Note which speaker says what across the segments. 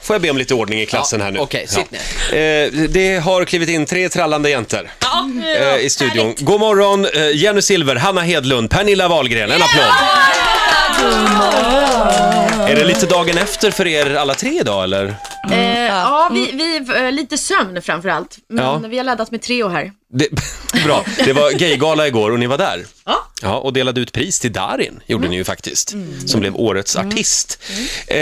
Speaker 1: får jag be om lite ordning i klassen här nu?
Speaker 2: okej, sitt
Speaker 1: ner. Det har klivit in tre trallande jäntor
Speaker 3: Ja,
Speaker 1: eh, i studion. God morgon, eh, Jenny Silver, Hanna Hedlund, Pernilla Wahlgren. En applåd! Är det lite dagen efter för er alla tre idag eller?
Speaker 3: Eh, ja, vi, vi eh, lite sömn framför allt. Men
Speaker 1: Ja.
Speaker 3: vi har laddat med Treo här.
Speaker 1: Det, bra, det var gaygala igår och ni var där.
Speaker 3: Ja.
Speaker 1: Ja, och delade ut pris till Darin, gjorde ni ju faktiskt, som blev årets artist. Eh,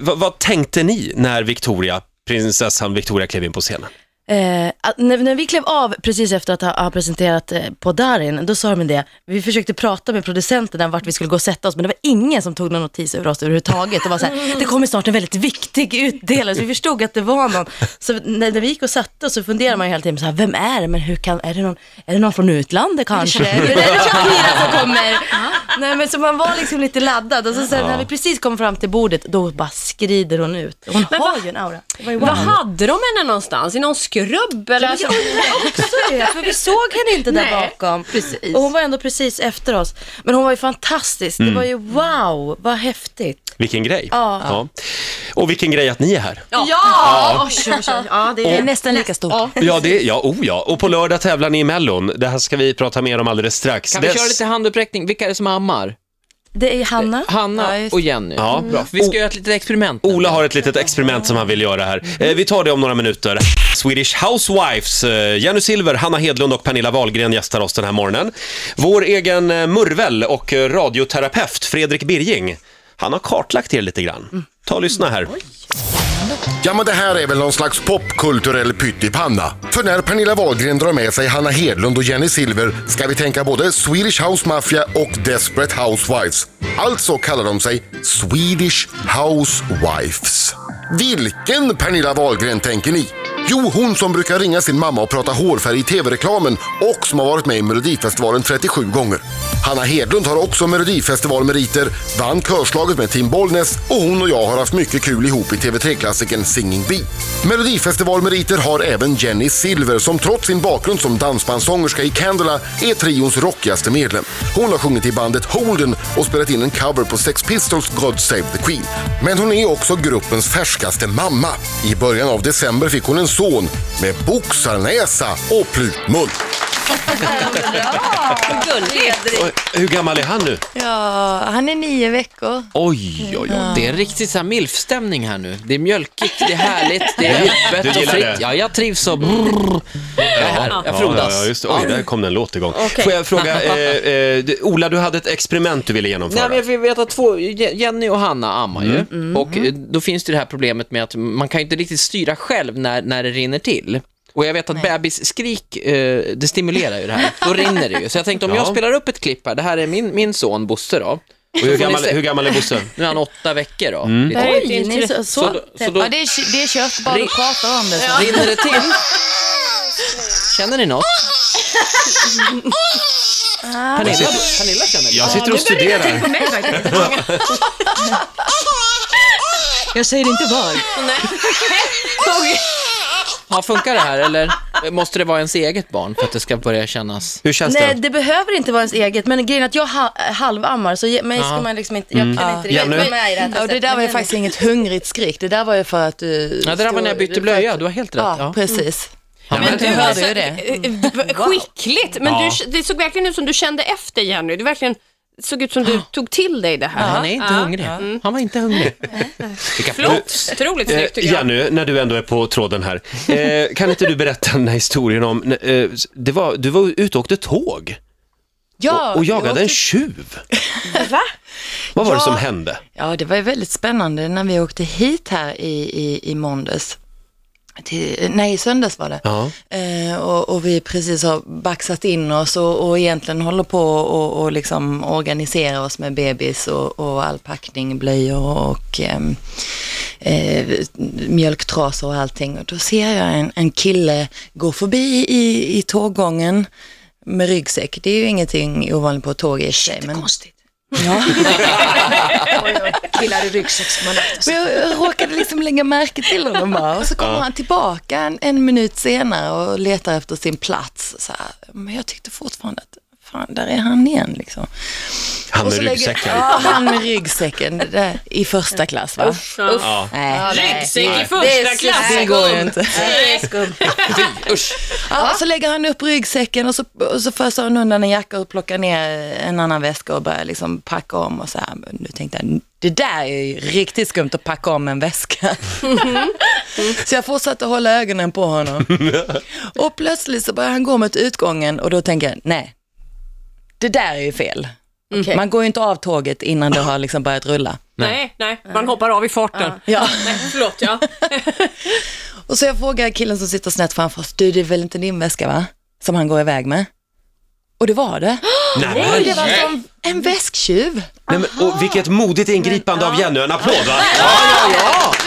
Speaker 1: vad, vad tänkte ni när Victoria, prinsessan Victoria klev in på scenen?
Speaker 4: Eh, att när, när vi klev av precis efter att ha, ha presenterat eh, på Darin, då sa de det. Vi försökte prata med producenten om vart vi skulle gå och sätta oss, men det var ingen som tog någon notis över oss överhuvudtaget. Det var så här, det kommer snart en väldigt viktig utdelare, så vi förstod att det var någon. Så när, när vi gick och satte oss så funderade man ju hela tiden, så här, vem är det? Men hur kan, är det någon, är det någon från utlandet kanske? är det Shakira som kommer? Nej, men så man var liksom lite laddad och så sen när vi precis kom fram till bordet, då bara skrider hon ut. Hon
Speaker 5: Men
Speaker 4: har
Speaker 5: vad-
Speaker 4: ju en aura. Det var ju
Speaker 5: Vad hade de henne någonstans? I någon skrubb eller?
Speaker 4: Alltså, jag undrar också det, för vi såg henne inte där
Speaker 3: Nej,
Speaker 4: bakom.
Speaker 3: precis.
Speaker 4: Och hon var ändå precis efter oss. Men hon var ju fantastisk.
Speaker 2: Mm.
Speaker 4: Det var ju wow, vad häftigt.
Speaker 1: Vilken grej.
Speaker 4: Ja.
Speaker 1: Och vilken grej att ni är här.
Speaker 3: Ja! Oj, oj, oj. ja det
Speaker 4: Det är
Speaker 3: är...
Speaker 4: Eh, nästan lika stort.
Speaker 1: Ja, det, ja, oh ja. Och på lördag tävlar ni i Mellon. Det här ska vi prata mer om alldeles strax.
Speaker 2: Kan vi
Speaker 1: Dess-
Speaker 2: köra lite handuppräckning? Vilka är det som ammar?
Speaker 4: Det är Hanna.
Speaker 2: Eh, Hanna
Speaker 4: Ja, just- Mm.
Speaker 2: och Jenny.
Speaker 1: Ja.
Speaker 2: Bra. Oh. för Vi ska göra ett litet experiment.
Speaker 1: Ola har ett litet experiment som han vill göra här.
Speaker 2: Mm.
Speaker 1: Eh, vi tar det om några minuter. Swedish Housewives, eh, Jenny Silver, Hanna Hedlund och Pernilla Wahlgren gästar oss den här morgonen. Vår egen eh, murvel och eh, radioterapeut Fredrik Birging, han har kartlagt er lite
Speaker 2: Mm.
Speaker 1: grann. Ta och lyssna här.
Speaker 6: Ja, men det här är väl någon slags popkulturell pyttipanna. För när Pernilla Wahlgren drar med sig Hanna Hedlund och Jenny Silver ska vi tänka både Swedish House Mafia och Desperate Housewives. Alltså kallar de sig Swedish Housewives. Vilken Pernilla Wahlgren tänker ni? Jo, hon som brukar ringa sin mamma och prata hårfärg i tv-reklamen och som har varit med i Melodifestivalen 37 gånger. Hanna Hedlund har också Melodifestivalmeriter, vann körslaget med Tim Bollnäs och hon och jag har haft mycket kul ihop i TV3-klassikern Singing Bee. Melodifestivalmeriter har även Jenny Silver som trots sin bakgrund som dansbandssångerska i Candela är trions rockigaste medlem. Hon har sjungit i bandet Holden och spelat in en cover på Sex Pistols God Save the Queen. Men hon är också gruppens färskaste mamma. I början av december fick hon en son med boxarnäsa och plutmun.
Speaker 1: Oj, Hur gammal är han nu?
Speaker 7: Ja, han är nio veckor.
Speaker 1: Oj, oj, oj.
Speaker 2: Oh. Det är en riktig så här milfstämning här nu. Det är mjölkigt, det är härligt, det är
Speaker 1: Du
Speaker 2: öppet och
Speaker 1: gillar
Speaker 2: fritt.
Speaker 1: det?
Speaker 2: Ja, jag trivs och brrr. Jag är här, jag
Speaker 1: Ja,
Speaker 2: frodas.
Speaker 1: ja, just det. Oj, där kom det en låt igång.
Speaker 3: Okej.
Speaker 1: Får jag fråga, eh, eh, du- Ola, du hade ett experiment du ville
Speaker 2: Nej,
Speaker 1: genomföra.
Speaker 2: men vi vet att två, Je- Jenny och Hanna ammar ju. Och eh, då finns det det här problemet med att man kan ju inte riktigt styra själv när, när det rinner till. Och jag vet att bebisskrik, eh, det stimulerar ju det här. Då rinner det ju. Så jag tänkte om
Speaker 1: Ja.
Speaker 2: jag spelar upp ett klipp här, det här är min, min son Bosse då.
Speaker 1: Och hur,
Speaker 2: Så får ni
Speaker 1: gammal,
Speaker 2: se.
Speaker 1: hur gammal är Bosse?
Speaker 2: Nu är han åtta veckor då. Lite.
Speaker 4: Oj, ni är så, så,
Speaker 2: Så då, så då
Speaker 7: Ja, det, är, det är kört bara du
Speaker 2: Ring-
Speaker 7: pratar om det. Så.
Speaker 2: rinner det till. Känner ni något? Pernilla, Pernilla känner det.
Speaker 1: Jag sitter och studerar.
Speaker 3: På mig faktiskt.
Speaker 4: Jag säger inte var.
Speaker 2: Ja, funkar det här eller måste det vara ens eget barn för att det ska börja kännas?
Speaker 1: Hur känns
Speaker 4: Nej,
Speaker 1: det?
Speaker 4: det behöver inte vara ens eget. Men grejen är att jag ha, halvammar, så ge- mig ska man liksom inte, jag
Speaker 2: Mm.
Speaker 4: kan inte riktigt
Speaker 1: Jenny?
Speaker 4: vara med i det här
Speaker 7: Ja, det
Speaker 4: testet.
Speaker 7: där var ju
Speaker 4: Men-
Speaker 7: faktiskt inget hungrigt skrik. Det där var ju för att du...
Speaker 2: Ja, det där var när jag bytte blöja, du har helt rätt.
Speaker 7: Ja,
Speaker 2: Ja.
Speaker 4: Mm.
Speaker 7: precis.
Speaker 2: Ja, men-
Speaker 7: Men du hörde ju det.
Speaker 5: Mm. Skickligt, men
Speaker 2: Ja.
Speaker 5: du, det såg verkligen ut som du kände efter Jenny. Du verkligen såg ut som du tog till dig det här.
Speaker 2: Han är inte hungrig. Han var inte hungrig. Vilka
Speaker 5: Flott, otroligt snyggt tycker jag.
Speaker 1: Jenny, eh, när du ändå är på tråden här. Eh, kan inte du berätta den här historien om, eh, det var, du var ute och åkte tåg
Speaker 7: Ja,
Speaker 1: och
Speaker 7: vi
Speaker 1: jagade en
Speaker 7: åkte-
Speaker 1: tjuv. Vad var det
Speaker 7: Ja.
Speaker 1: som hände?
Speaker 7: Ja, det var ju väldigt spännande när vi åkte hit här i, i, i måndags. Till, nej, i söndags var det.
Speaker 1: Ja.
Speaker 7: Eh, och, och vi precis har baxat in oss och, och egentligen håller på och, och liksom organisera oss med bebis och, och all packning, blöjor och ehm, eh, mjölktrasor och allting. Och då ser jag en, en kille gå förbi i, i tåggången med ryggsäck. Det är ju ingenting ovanligt på tåg i och för sig. Men...
Speaker 4: Killar i ryggsäck som man
Speaker 7: Men jag råkade liksom lägga märke till honom bara. Och så kommer han tillbaka en, en minut senare och letar efter sin plats. Så här. Men jag tyckte fortfarande att fan, där är han igen liksom.
Speaker 1: Han
Speaker 7: Och
Speaker 1: med
Speaker 7: så lägger-
Speaker 1: ryggsäcken.
Speaker 7: Ja, han med ryggsäcken det där, i första klass va?
Speaker 5: Usch, ja.
Speaker 1: Ja.
Speaker 7: Nej.
Speaker 5: Ryggsäck i
Speaker 7: Nej.
Speaker 5: första
Speaker 7: Det är-
Speaker 5: klass.
Speaker 7: Det går ju inte.
Speaker 5: Nej.
Speaker 7: Ja, och så lägger han upp ryggsäcken och så, och så föser han undan en jacka och plockar ner en annan väska och börjar liksom packa om och så här. Men nu tänkte jag, det där är ju riktigt skumt att packa om en väska. så jag fortsatte hålla ögonen på honom. och plötsligt så börjar han gå mot utgången och då tänker jag, nej, det där är ju fel.
Speaker 3: Okej.
Speaker 7: Man går ju inte av tåget innan det har liksom börjat rulla.
Speaker 5: Nej, nej, man hoppar av i farten.
Speaker 7: Ja.
Speaker 5: Nej, förlåt, ja.
Speaker 7: Och så jag frågar killen som sitter snett framför oss, du det är väl inte din väska va? Som han går iväg med. Och det var det.
Speaker 1: Nej,
Speaker 7: Men
Speaker 1: men,
Speaker 7: det var som
Speaker 4: Mm.
Speaker 7: en väsktjuv.
Speaker 1: nej, men, och vilket modigt ingripande av Jenny. En applåd va?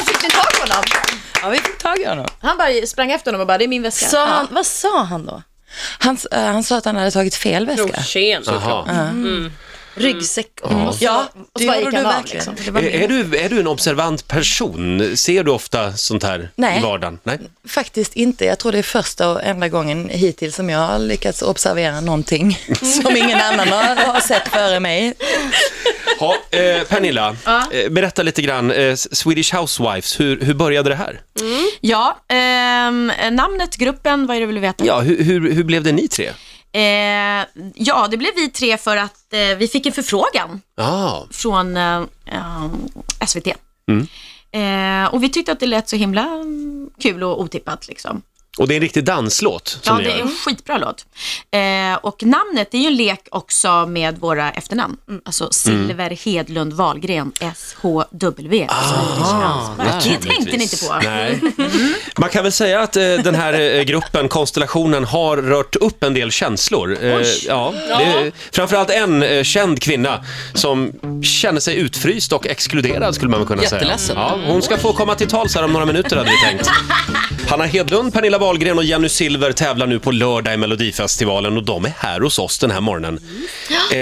Speaker 7: Fick ni tag på honom? Ja, vi fick tag i honom.
Speaker 3: Han bara sprang efter honom och bara, det är min väska.
Speaker 4: Sa han, vad sa han då?
Speaker 7: Han, s- eh, han sa att han hade tagit fel väska.
Speaker 5: Rosen, såklart.
Speaker 1: Jaha.
Speaker 4: Ryggsäck och, och så,
Speaker 7: Mm. Ja,
Speaker 4: och
Speaker 7: det
Speaker 4: så bara
Speaker 7: gjorde
Speaker 4: gick
Speaker 7: du
Speaker 4: han av
Speaker 7: verkligen.
Speaker 4: liksom.
Speaker 1: Är, är, du, är du en observant person? Ser du ofta sånt här i
Speaker 7: Nej.
Speaker 1: vardagen? Nej.
Speaker 7: Faktiskt inte. Jag tror det är första och enda gången hittills som jag har lyckats observera någonting
Speaker 4: Mm.
Speaker 7: som ingen annan har, har sett före mig.
Speaker 1: Ha, eh, Pernilla, eh, berätta lite grann. Eh, Swedish Housewives, hur, hur började det här?
Speaker 3: Ja, ehm, namnet, gruppen, vad är det du vill veta?
Speaker 1: Ja, hur, hur, hur blev det ni tre?
Speaker 3: Eh, ja, det blev vi tre för att eh, vi fick en förfrågan
Speaker 1: Ah,
Speaker 3: från eh, eh, SVT. Eh, och vi tyckte att det lät så himla mm, kul och otippat liksom.
Speaker 1: och det är en riktig danslåt som
Speaker 3: Ja,
Speaker 1: ni
Speaker 3: det är
Speaker 1: gör.
Speaker 3: en skitbra låt. Eh, och namnet är ju en lek också med våra efternamn. Alltså Silver
Speaker 7: Mm.
Speaker 3: Hedlund Wahlgren, SHW. Ah, det
Speaker 1: Naturligtvis.
Speaker 3: tänkte ni inte på.
Speaker 1: Nej. Man kan väl säga att eh, den här eh, gruppen, konstellationen, har rört upp en del känslor. Eh, ja, det är, framförallt en eh, känd kvinna som känner sig utfryst och exkluderad skulle man väl kunna
Speaker 2: Jätteledsen.
Speaker 1: säga. Ja, hon ska få komma till tals här om några minuter hade vi tänkt. Hanna Hedlund, Pernilla Wahlgren och Jenny Silver tävlar nu på lördag i Melodifestivalen och de är här hos oss den här morgonen. Eh,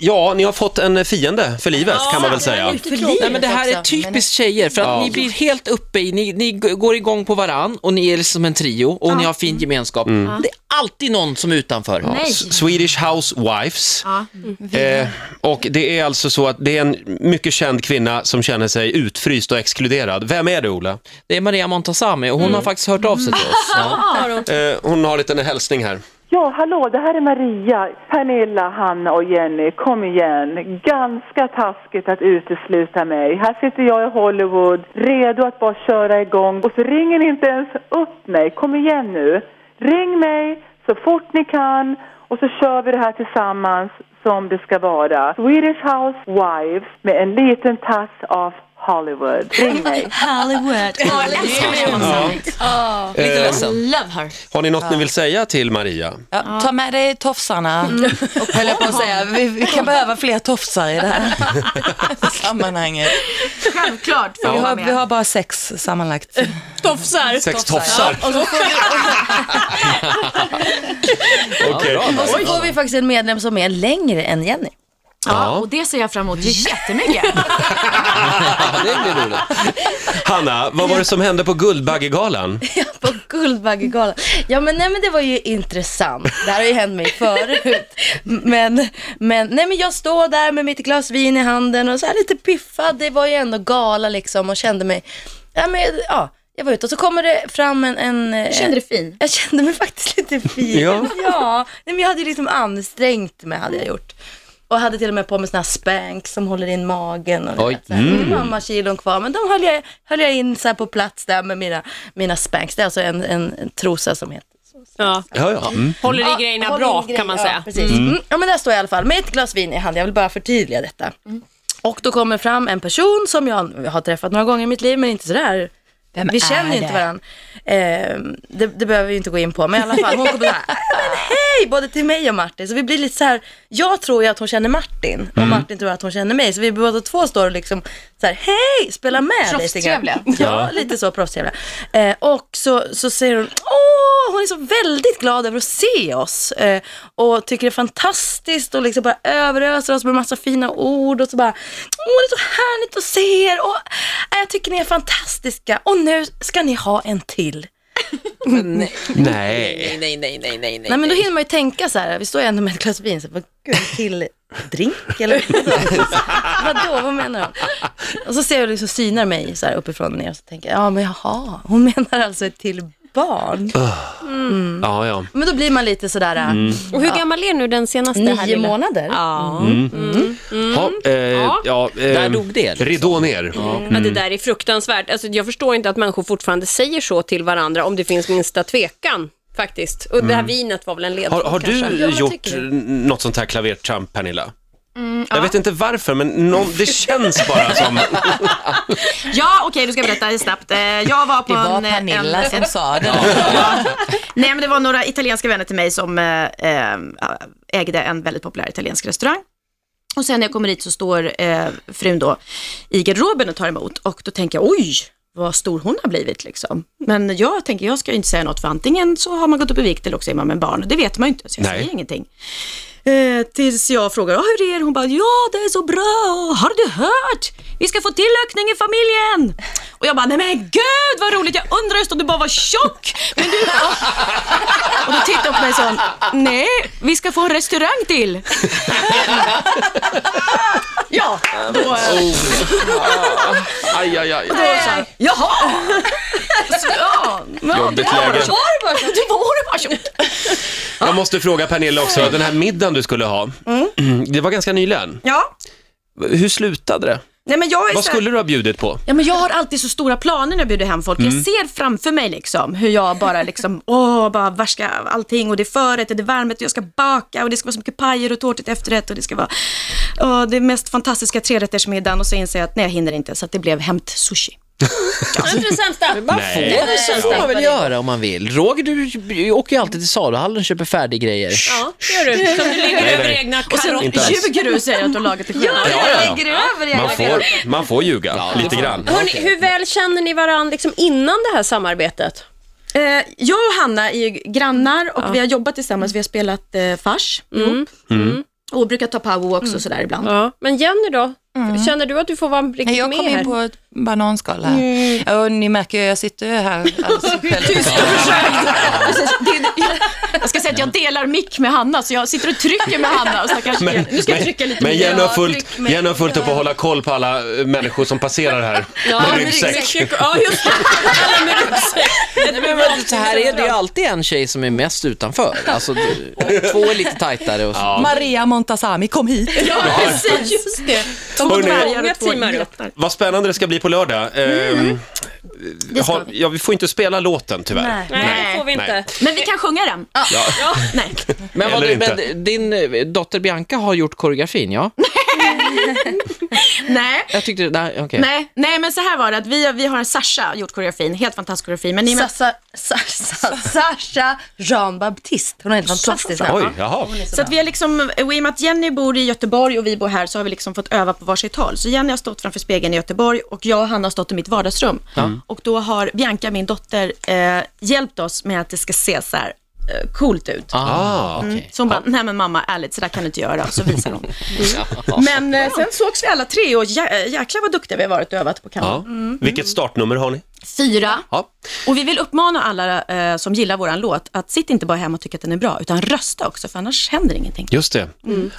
Speaker 1: ja, ni har fått en fiende för livet kan man väl säga.
Speaker 2: Nej, men det här är
Speaker 7: också, men-
Speaker 2: typiskt tjejer, för att ni blir helt uppe i, ni, ni g- går igång på varann och ni är liksom en trio och ni har fin gemenskap. Det är alltid någon som är utanför.
Speaker 3: Nej.
Speaker 1: S- Swedish Housewives.
Speaker 3: Ja.
Speaker 1: Eh, och det är alltså så att det är en mycket känd kvinna som känner sig utfryst och exkluderad. Vem är det, Ola?
Speaker 2: Det är Maria Montazami och hon har faktiskt hört av sig till oss.
Speaker 1: Eh, hon har en liten hälsning här.
Speaker 8: Ja, hallå, det här är Maria. Pernilla, Hanna och Jenny, kom igen. Ganska taskigt att utesluta mig. Här sitter jag i Hollywood, redo att bara köra igång. Och så ringer ni inte ens upp mig. Kom igen nu. Ring mig så fort ni kan och så kör vi det här tillsammans som det ska vara. Swedish Housewives med en liten tass av Hollywood. Ring mig.
Speaker 2: Lite ledsen.
Speaker 3: Love her.
Speaker 1: Har ni något ni vill säga till Maria?
Speaker 7: Ja, ta med dig tofsarna,
Speaker 4: Mm.
Speaker 7: och höll jag på att säga. Vi, vi kan behöva fler tofsar i det här sammanhanget.
Speaker 3: Självklart får
Speaker 7: Vi
Speaker 3: vi vara
Speaker 7: har, vi
Speaker 3: med.
Speaker 7: har bara sex sammanlagt.
Speaker 5: Tofsar.
Speaker 1: Sex tofsar? Okej.
Speaker 4: Och så får vi faktiskt en medlem som är längre än Jenny.
Speaker 3: Ja, och det ser jag fram emot jättemycket.
Speaker 2: Det blir roligt.
Speaker 1: Hanna, vad var det som hände på Guldbaggegalan?
Speaker 4: på Guldbaggegalan. Ja men nej men det var ju intressant. Det här har ju hänt mig förut. Men, men, nej men jag står där med mitt glas vin i handen och så här lite piffad. Det var ju ändå gala liksom och kände mig, ja men ja, jag var ute och så kommer det fram en... en eh,
Speaker 3: kände dig fin?
Speaker 4: Jag kände mig faktiskt lite fin.
Speaker 1: Ja.
Speaker 4: ja. Nej men jag hade ju liksom ansträngt mig hade jag gjort. Och hade till och med på mig såna här spanks som håller in magen och
Speaker 2: Oj.
Speaker 4: Oj. Så här, mm. mamma kilon kvar. Men de höll jag, höll jag in så här på plats där med mina, mina spanks. Det är alltså en, en, en trosa som heter
Speaker 5: Ja.
Speaker 1: Ja, ja. Mm.
Speaker 5: Håller i
Speaker 4: Ja,
Speaker 5: grejerna
Speaker 4: håll
Speaker 5: bra
Speaker 4: in grejer.
Speaker 5: kan man
Speaker 4: Ja,
Speaker 5: säga.
Speaker 4: precis. Mm. ja, men där står jag i alla fall med ett glas vin i hand. Jag vill bara förtydliga detta.
Speaker 5: Mm.
Speaker 4: Och då kommer fram en person som jag har träffat några gånger i mitt liv, men inte sådär.
Speaker 7: Vem
Speaker 4: Vi känner ju
Speaker 7: är
Speaker 4: inte
Speaker 7: det?
Speaker 4: varandra. Eh, det, det behöver vi inte gå in på, men i alla fall hon kommer såhär, men hej, både till mig och Martin. Så vi blir lite så här. jag tror ju att hon känner Martin
Speaker 5: Mm.
Speaker 4: och Martin tror att hon känner mig. Så vi båda två står och liksom så här, hej, spela med lite grann.
Speaker 3: Proffstrevliga.
Speaker 4: Ja, lite så proffstrevliga. Eh, och så, så säger hon, åh, hon är så väldigt glad över att se oss. Eh, och tycker det är fantastiskt och liksom bara överöser oss med massa fina ord och så bara, åh, det är så härligt att eh, se er och äh, jag tycker ni är fantastiska och nu ska ni ha en till.
Speaker 5: Men nej,
Speaker 1: Nej.
Speaker 5: nej, nej, nej, nej, nej.
Speaker 4: Nej men då hinner man ju tänka så här, vi står ju ändå med ett glas vin, så bara, gud, en till drink eller? Vadå, vad menar de? Och så ser jag hur det liksom synar mig så här uppifrån och ner och så tänker jag, ja men jaha, hon menar alltså ett till barn.
Speaker 1: Ja, ja.
Speaker 4: Men då blir man lite sådär, äh,
Speaker 5: Och hur gammal är nu den senaste? här
Speaker 4: nio
Speaker 5: lilla?
Speaker 4: månader.
Speaker 5: Ja.
Speaker 1: Ha, eh, ja. eh,
Speaker 2: Där dog det, liksom.
Speaker 1: Ridå ner.
Speaker 5: ja, det där är fruktansvärt. Alltså, jag förstår inte att människor fortfarande säger så till varandra om det finns minsta tvekan. Faktiskt. Och det här vinet var väl en ledtråd
Speaker 1: Har,
Speaker 3: Alltså,
Speaker 1: har du
Speaker 5: kanske.
Speaker 1: gjort n- något sånt här klavertramp, Pernilla?
Speaker 3: Mm,
Speaker 1: jag vet inte varför, men någon, det känns bara som...
Speaker 3: Ja, okej, då ska jag berätta snabbt. Eh, Jag var på
Speaker 7: Det var
Speaker 3: en... eh,
Speaker 7: Pernilla
Speaker 3: en,
Speaker 7: som sa det.
Speaker 3: Nej, men det var några italienska vänner till mig som eh, eh, ägde en väldigt populär italiensk restaurang. Och sen när jag kommer dit så står eh, frun då i garderoben och tar emot och då tänker jag oj, vad stor hon har blivit liksom. Men jag tänker jag ska ju inte säga något för antingen så har man gått upp i vikt eller också är man med barn. Det vet man ju inte så jag
Speaker 1: Nej.
Speaker 3: säger ingenting. Eh, tills jag frågar, "Ja, hur är det? Hon bara, ja det är så bra, har du hört? Vi ska få till ökning i familjen. Och jag bara, nej men gud vad roligt, jag undrar just om du bara var tjock. Men du... Och då tittade hon på mig så, nej, vi ska få en restaurang till. ja, då...
Speaker 1: Aj, aj, aj.
Speaker 3: Då sa jag, jaha! Så, ja,
Speaker 1: Jobbigt läge.
Speaker 3: Var du bara tjock? Du var bara tjock.
Speaker 1: Jag måste fråga Pernilla också, den här middagen du skulle ha,
Speaker 3: Mm.
Speaker 1: det var ganska nyligen.
Speaker 3: Ja,
Speaker 1: Hur slutade det?
Speaker 3: nej men jag är
Speaker 1: Vad
Speaker 3: så här-
Speaker 1: skulle du ha bjudit på?
Speaker 3: Ja, men jag har alltid så stora planer när jag bjuder hem folk.
Speaker 1: Mm.
Speaker 3: Jag ser framför mig liksom, hur jag bara, liksom, åh, bara värska allting och det är förrätt och det är varmrätt och jag ska baka och det ska vara så mycket pajer och tårta till efterrätt och det ska vara åh, det mest fantastiska trerättersmiddagen och så inser jag att nej, jag hinner inte så att det blev hämt sushi.
Speaker 5: Inte det sämsta.
Speaker 1: Nej.
Speaker 2: Det får man väl göra om man vill. Roger, du åker ju alltid till saluhallen och köper färdiga grejer.
Speaker 5: Ja, det gör du. Som du ligger
Speaker 1: Nej,
Speaker 5: över
Speaker 1: nej.
Speaker 5: egna
Speaker 3: Och sen
Speaker 5: karotter.
Speaker 1: Inte alls.
Speaker 3: ljuger du och säger att du har lagat det själv.
Speaker 1: Ja, ja, ja.
Speaker 3: över i
Speaker 1: Man får, man får ljuga
Speaker 2: det
Speaker 1: lite
Speaker 2: får
Speaker 1: grann.
Speaker 5: Hörrni, hur väl känner ni varandra liksom innan det här samarbetet?
Speaker 3: Eh, jag och Hanna är ju grannar och vi har jobbat tillsammans. Vi har spelat eh, fars ihop. Mm. Och brukar ta powerwalks och sådär ibland.
Speaker 5: Ja. Men Jenny då? Känner du att du får vara riktigt
Speaker 7: Mm. Nej, jag
Speaker 5: med
Speaker 7: kom
Speaker 5: här?
Speaker 7: in på ett bananskal här. Och ni märker ju, jag sitter ju här alldeles själv.
Speaker 3: Precis, det, jag ska säga att jag delar mick med Hanna, så jag sitter och trycker med Hanna. Och så kanske, nu ska jag trycka lite
Speaker 1: men
Speaker 3: mer.
Speaker 1: Jenny har
Speaker 3: Ja,
Speaker 1: fullt,
Speaker 3: tryck med-
Speaker 1: Jenny har fullt upp att hålla koll på alla eh, människor som passerar här med ryggsäck.
Speaker 5: Ja, just det. Alla med ryggsäck.
Speaker 2: Nej, men vad- så här är det ju alltid en tjej som är mest utanför. Alltså, du- två är lite tajtare och så.
Speaker 7: Maria Montazami, kom hit.
Speaker 5: Ja, precis. Just det. De
Speaker 1: Hörrni.
Speaker 5: tvärgar och två timmar upp.
Speaker 1: Vad spännande det ska bli på lördag. Ehm, har- ja, vi får inte spela låten tyvärr.
Speaker 4: Nej.
Speaker 5: Nej, det får vi inte.
Speaker 1: Nej.
Speaker 3: Men vi kan sjunga den.
Speaker 1: Ja.
Speaker 3: Nej.
Speaker 2: Men, vad,
Speaker 1: Eller inte.
Speaker 2: men din eh, dotter Bianca har gjort koreografin, ja?
Speaker 3: Nej.
Speaker 2: Jag tyckte, nej, okej.
Speaker 3: Nej, nej, men så här var det att vi, vi har en Sasha gjort koreografin, helt fantastisk koreografi. Men i och med-
Speaker 4: Sasha, Sasha, Sasha Jean Baptiste, hon har ett fantastiskt namn.
Speaker 1: Oj, jaha.
Speaker 3: Så att vi har liksom, och i och med att Jenny bor i Göteborg och vi bor här så har vi liksom fått öva på varsitt håll. Så Jenny har stått framför spegeln i Göteborg och jag och Hanna har stått i mitt vardagsrum. Och då har Bianca, min dotter, eh, hjälpt oss med att det ska se så här eh, coolt ut.
Speaker 2: Ah, okej.
Speaker 3: Så hon bara, nej men mamma, ärligt, så där kan du inte göra. Och så visar hon. Men eh, sen sågs vi alla tre och jä- eh, jäklar vad duktiga vi har varit och övat på
Speaker 1: Ja.
Speaker 3: kanal.
Speaker 1: Vilket startnummer har ni?
Speaker 3: Fyra.
Speaker 1: Ja.
Speaker 3: Och vi vill uppmana alla eh, som gillar våran låt att sitt inte bara hemma och tycka att den är bra, utan rösta också, för annars händer ingenting.
Speaker 1: Just det.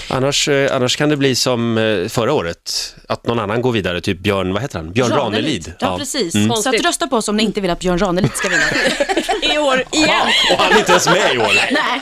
Speaker 1: Annars, eh, annars kan det bli som eh, förra året, att någon annan går vidare, typ Björn, vad heter han? Björn Ranelid. Mm.
Speaker 3: Ja, precis. Så att
Speaker 5: Konstigt.
Speaker 3: rösta på oss om ni inte vill att Björn Ranelid ska vinna.
Speaker 5: I år igen.
Speaker 1: Och han är inte ens med i år.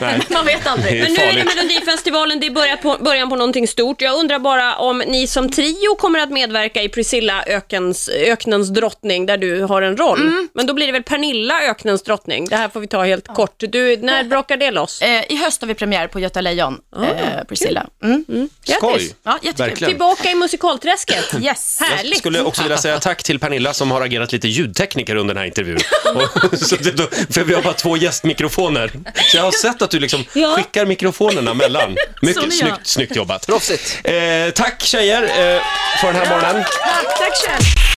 Speaker 3: Nej, man vet aldrig.
Speaker 1: Det är
Speaker 5: Men nu är det
Speaker 1: farligt.
Speaker 5: Melodifestivalen, det är början på, början på någonting stort. Jag undrar bara om ni som trio kommer att medverka i Priscilla ökens, öknens drottning, där du har en roll. Men då blir det väl Pernilla öknens drottning. Det här får vi ta helt kort. Du, när brakar det loss?
Speaker 3: Eh, I höst har vi premiär på Göta Lejon, eh, Priscilla. Mm.
Speaker 1: Skoj.
Speaker 3: Ja, jättekul.
Speaker 1: Verkligen.
Speaker 5: Tillbaka i musikalträsket.
Speaker 3: Yes.
Speaker 1: Jag
Speaker 5: Härligt.
Speaker 1: skulle också vilja säga tack till Pernilla som har agerat lite ljudtekniker under den här intervjun. Och, så det, då, för vi har bara två gästmikrofoner. Så jag har sett att du liksom
Speaker 5: Ja.
Speaker 1: skickar mikrofonerna mellan.
Speaker 3: Så gör
Speaker 1: Mycket
Speaker 3: jag.
Speaker 1: snyggt, snyggt jobbat.
Speaker 2: Proffsigt.
Speaker 1: Eh, tack tjejer eh, för den här morgonen.
Speaker 3: Tack, tack själv.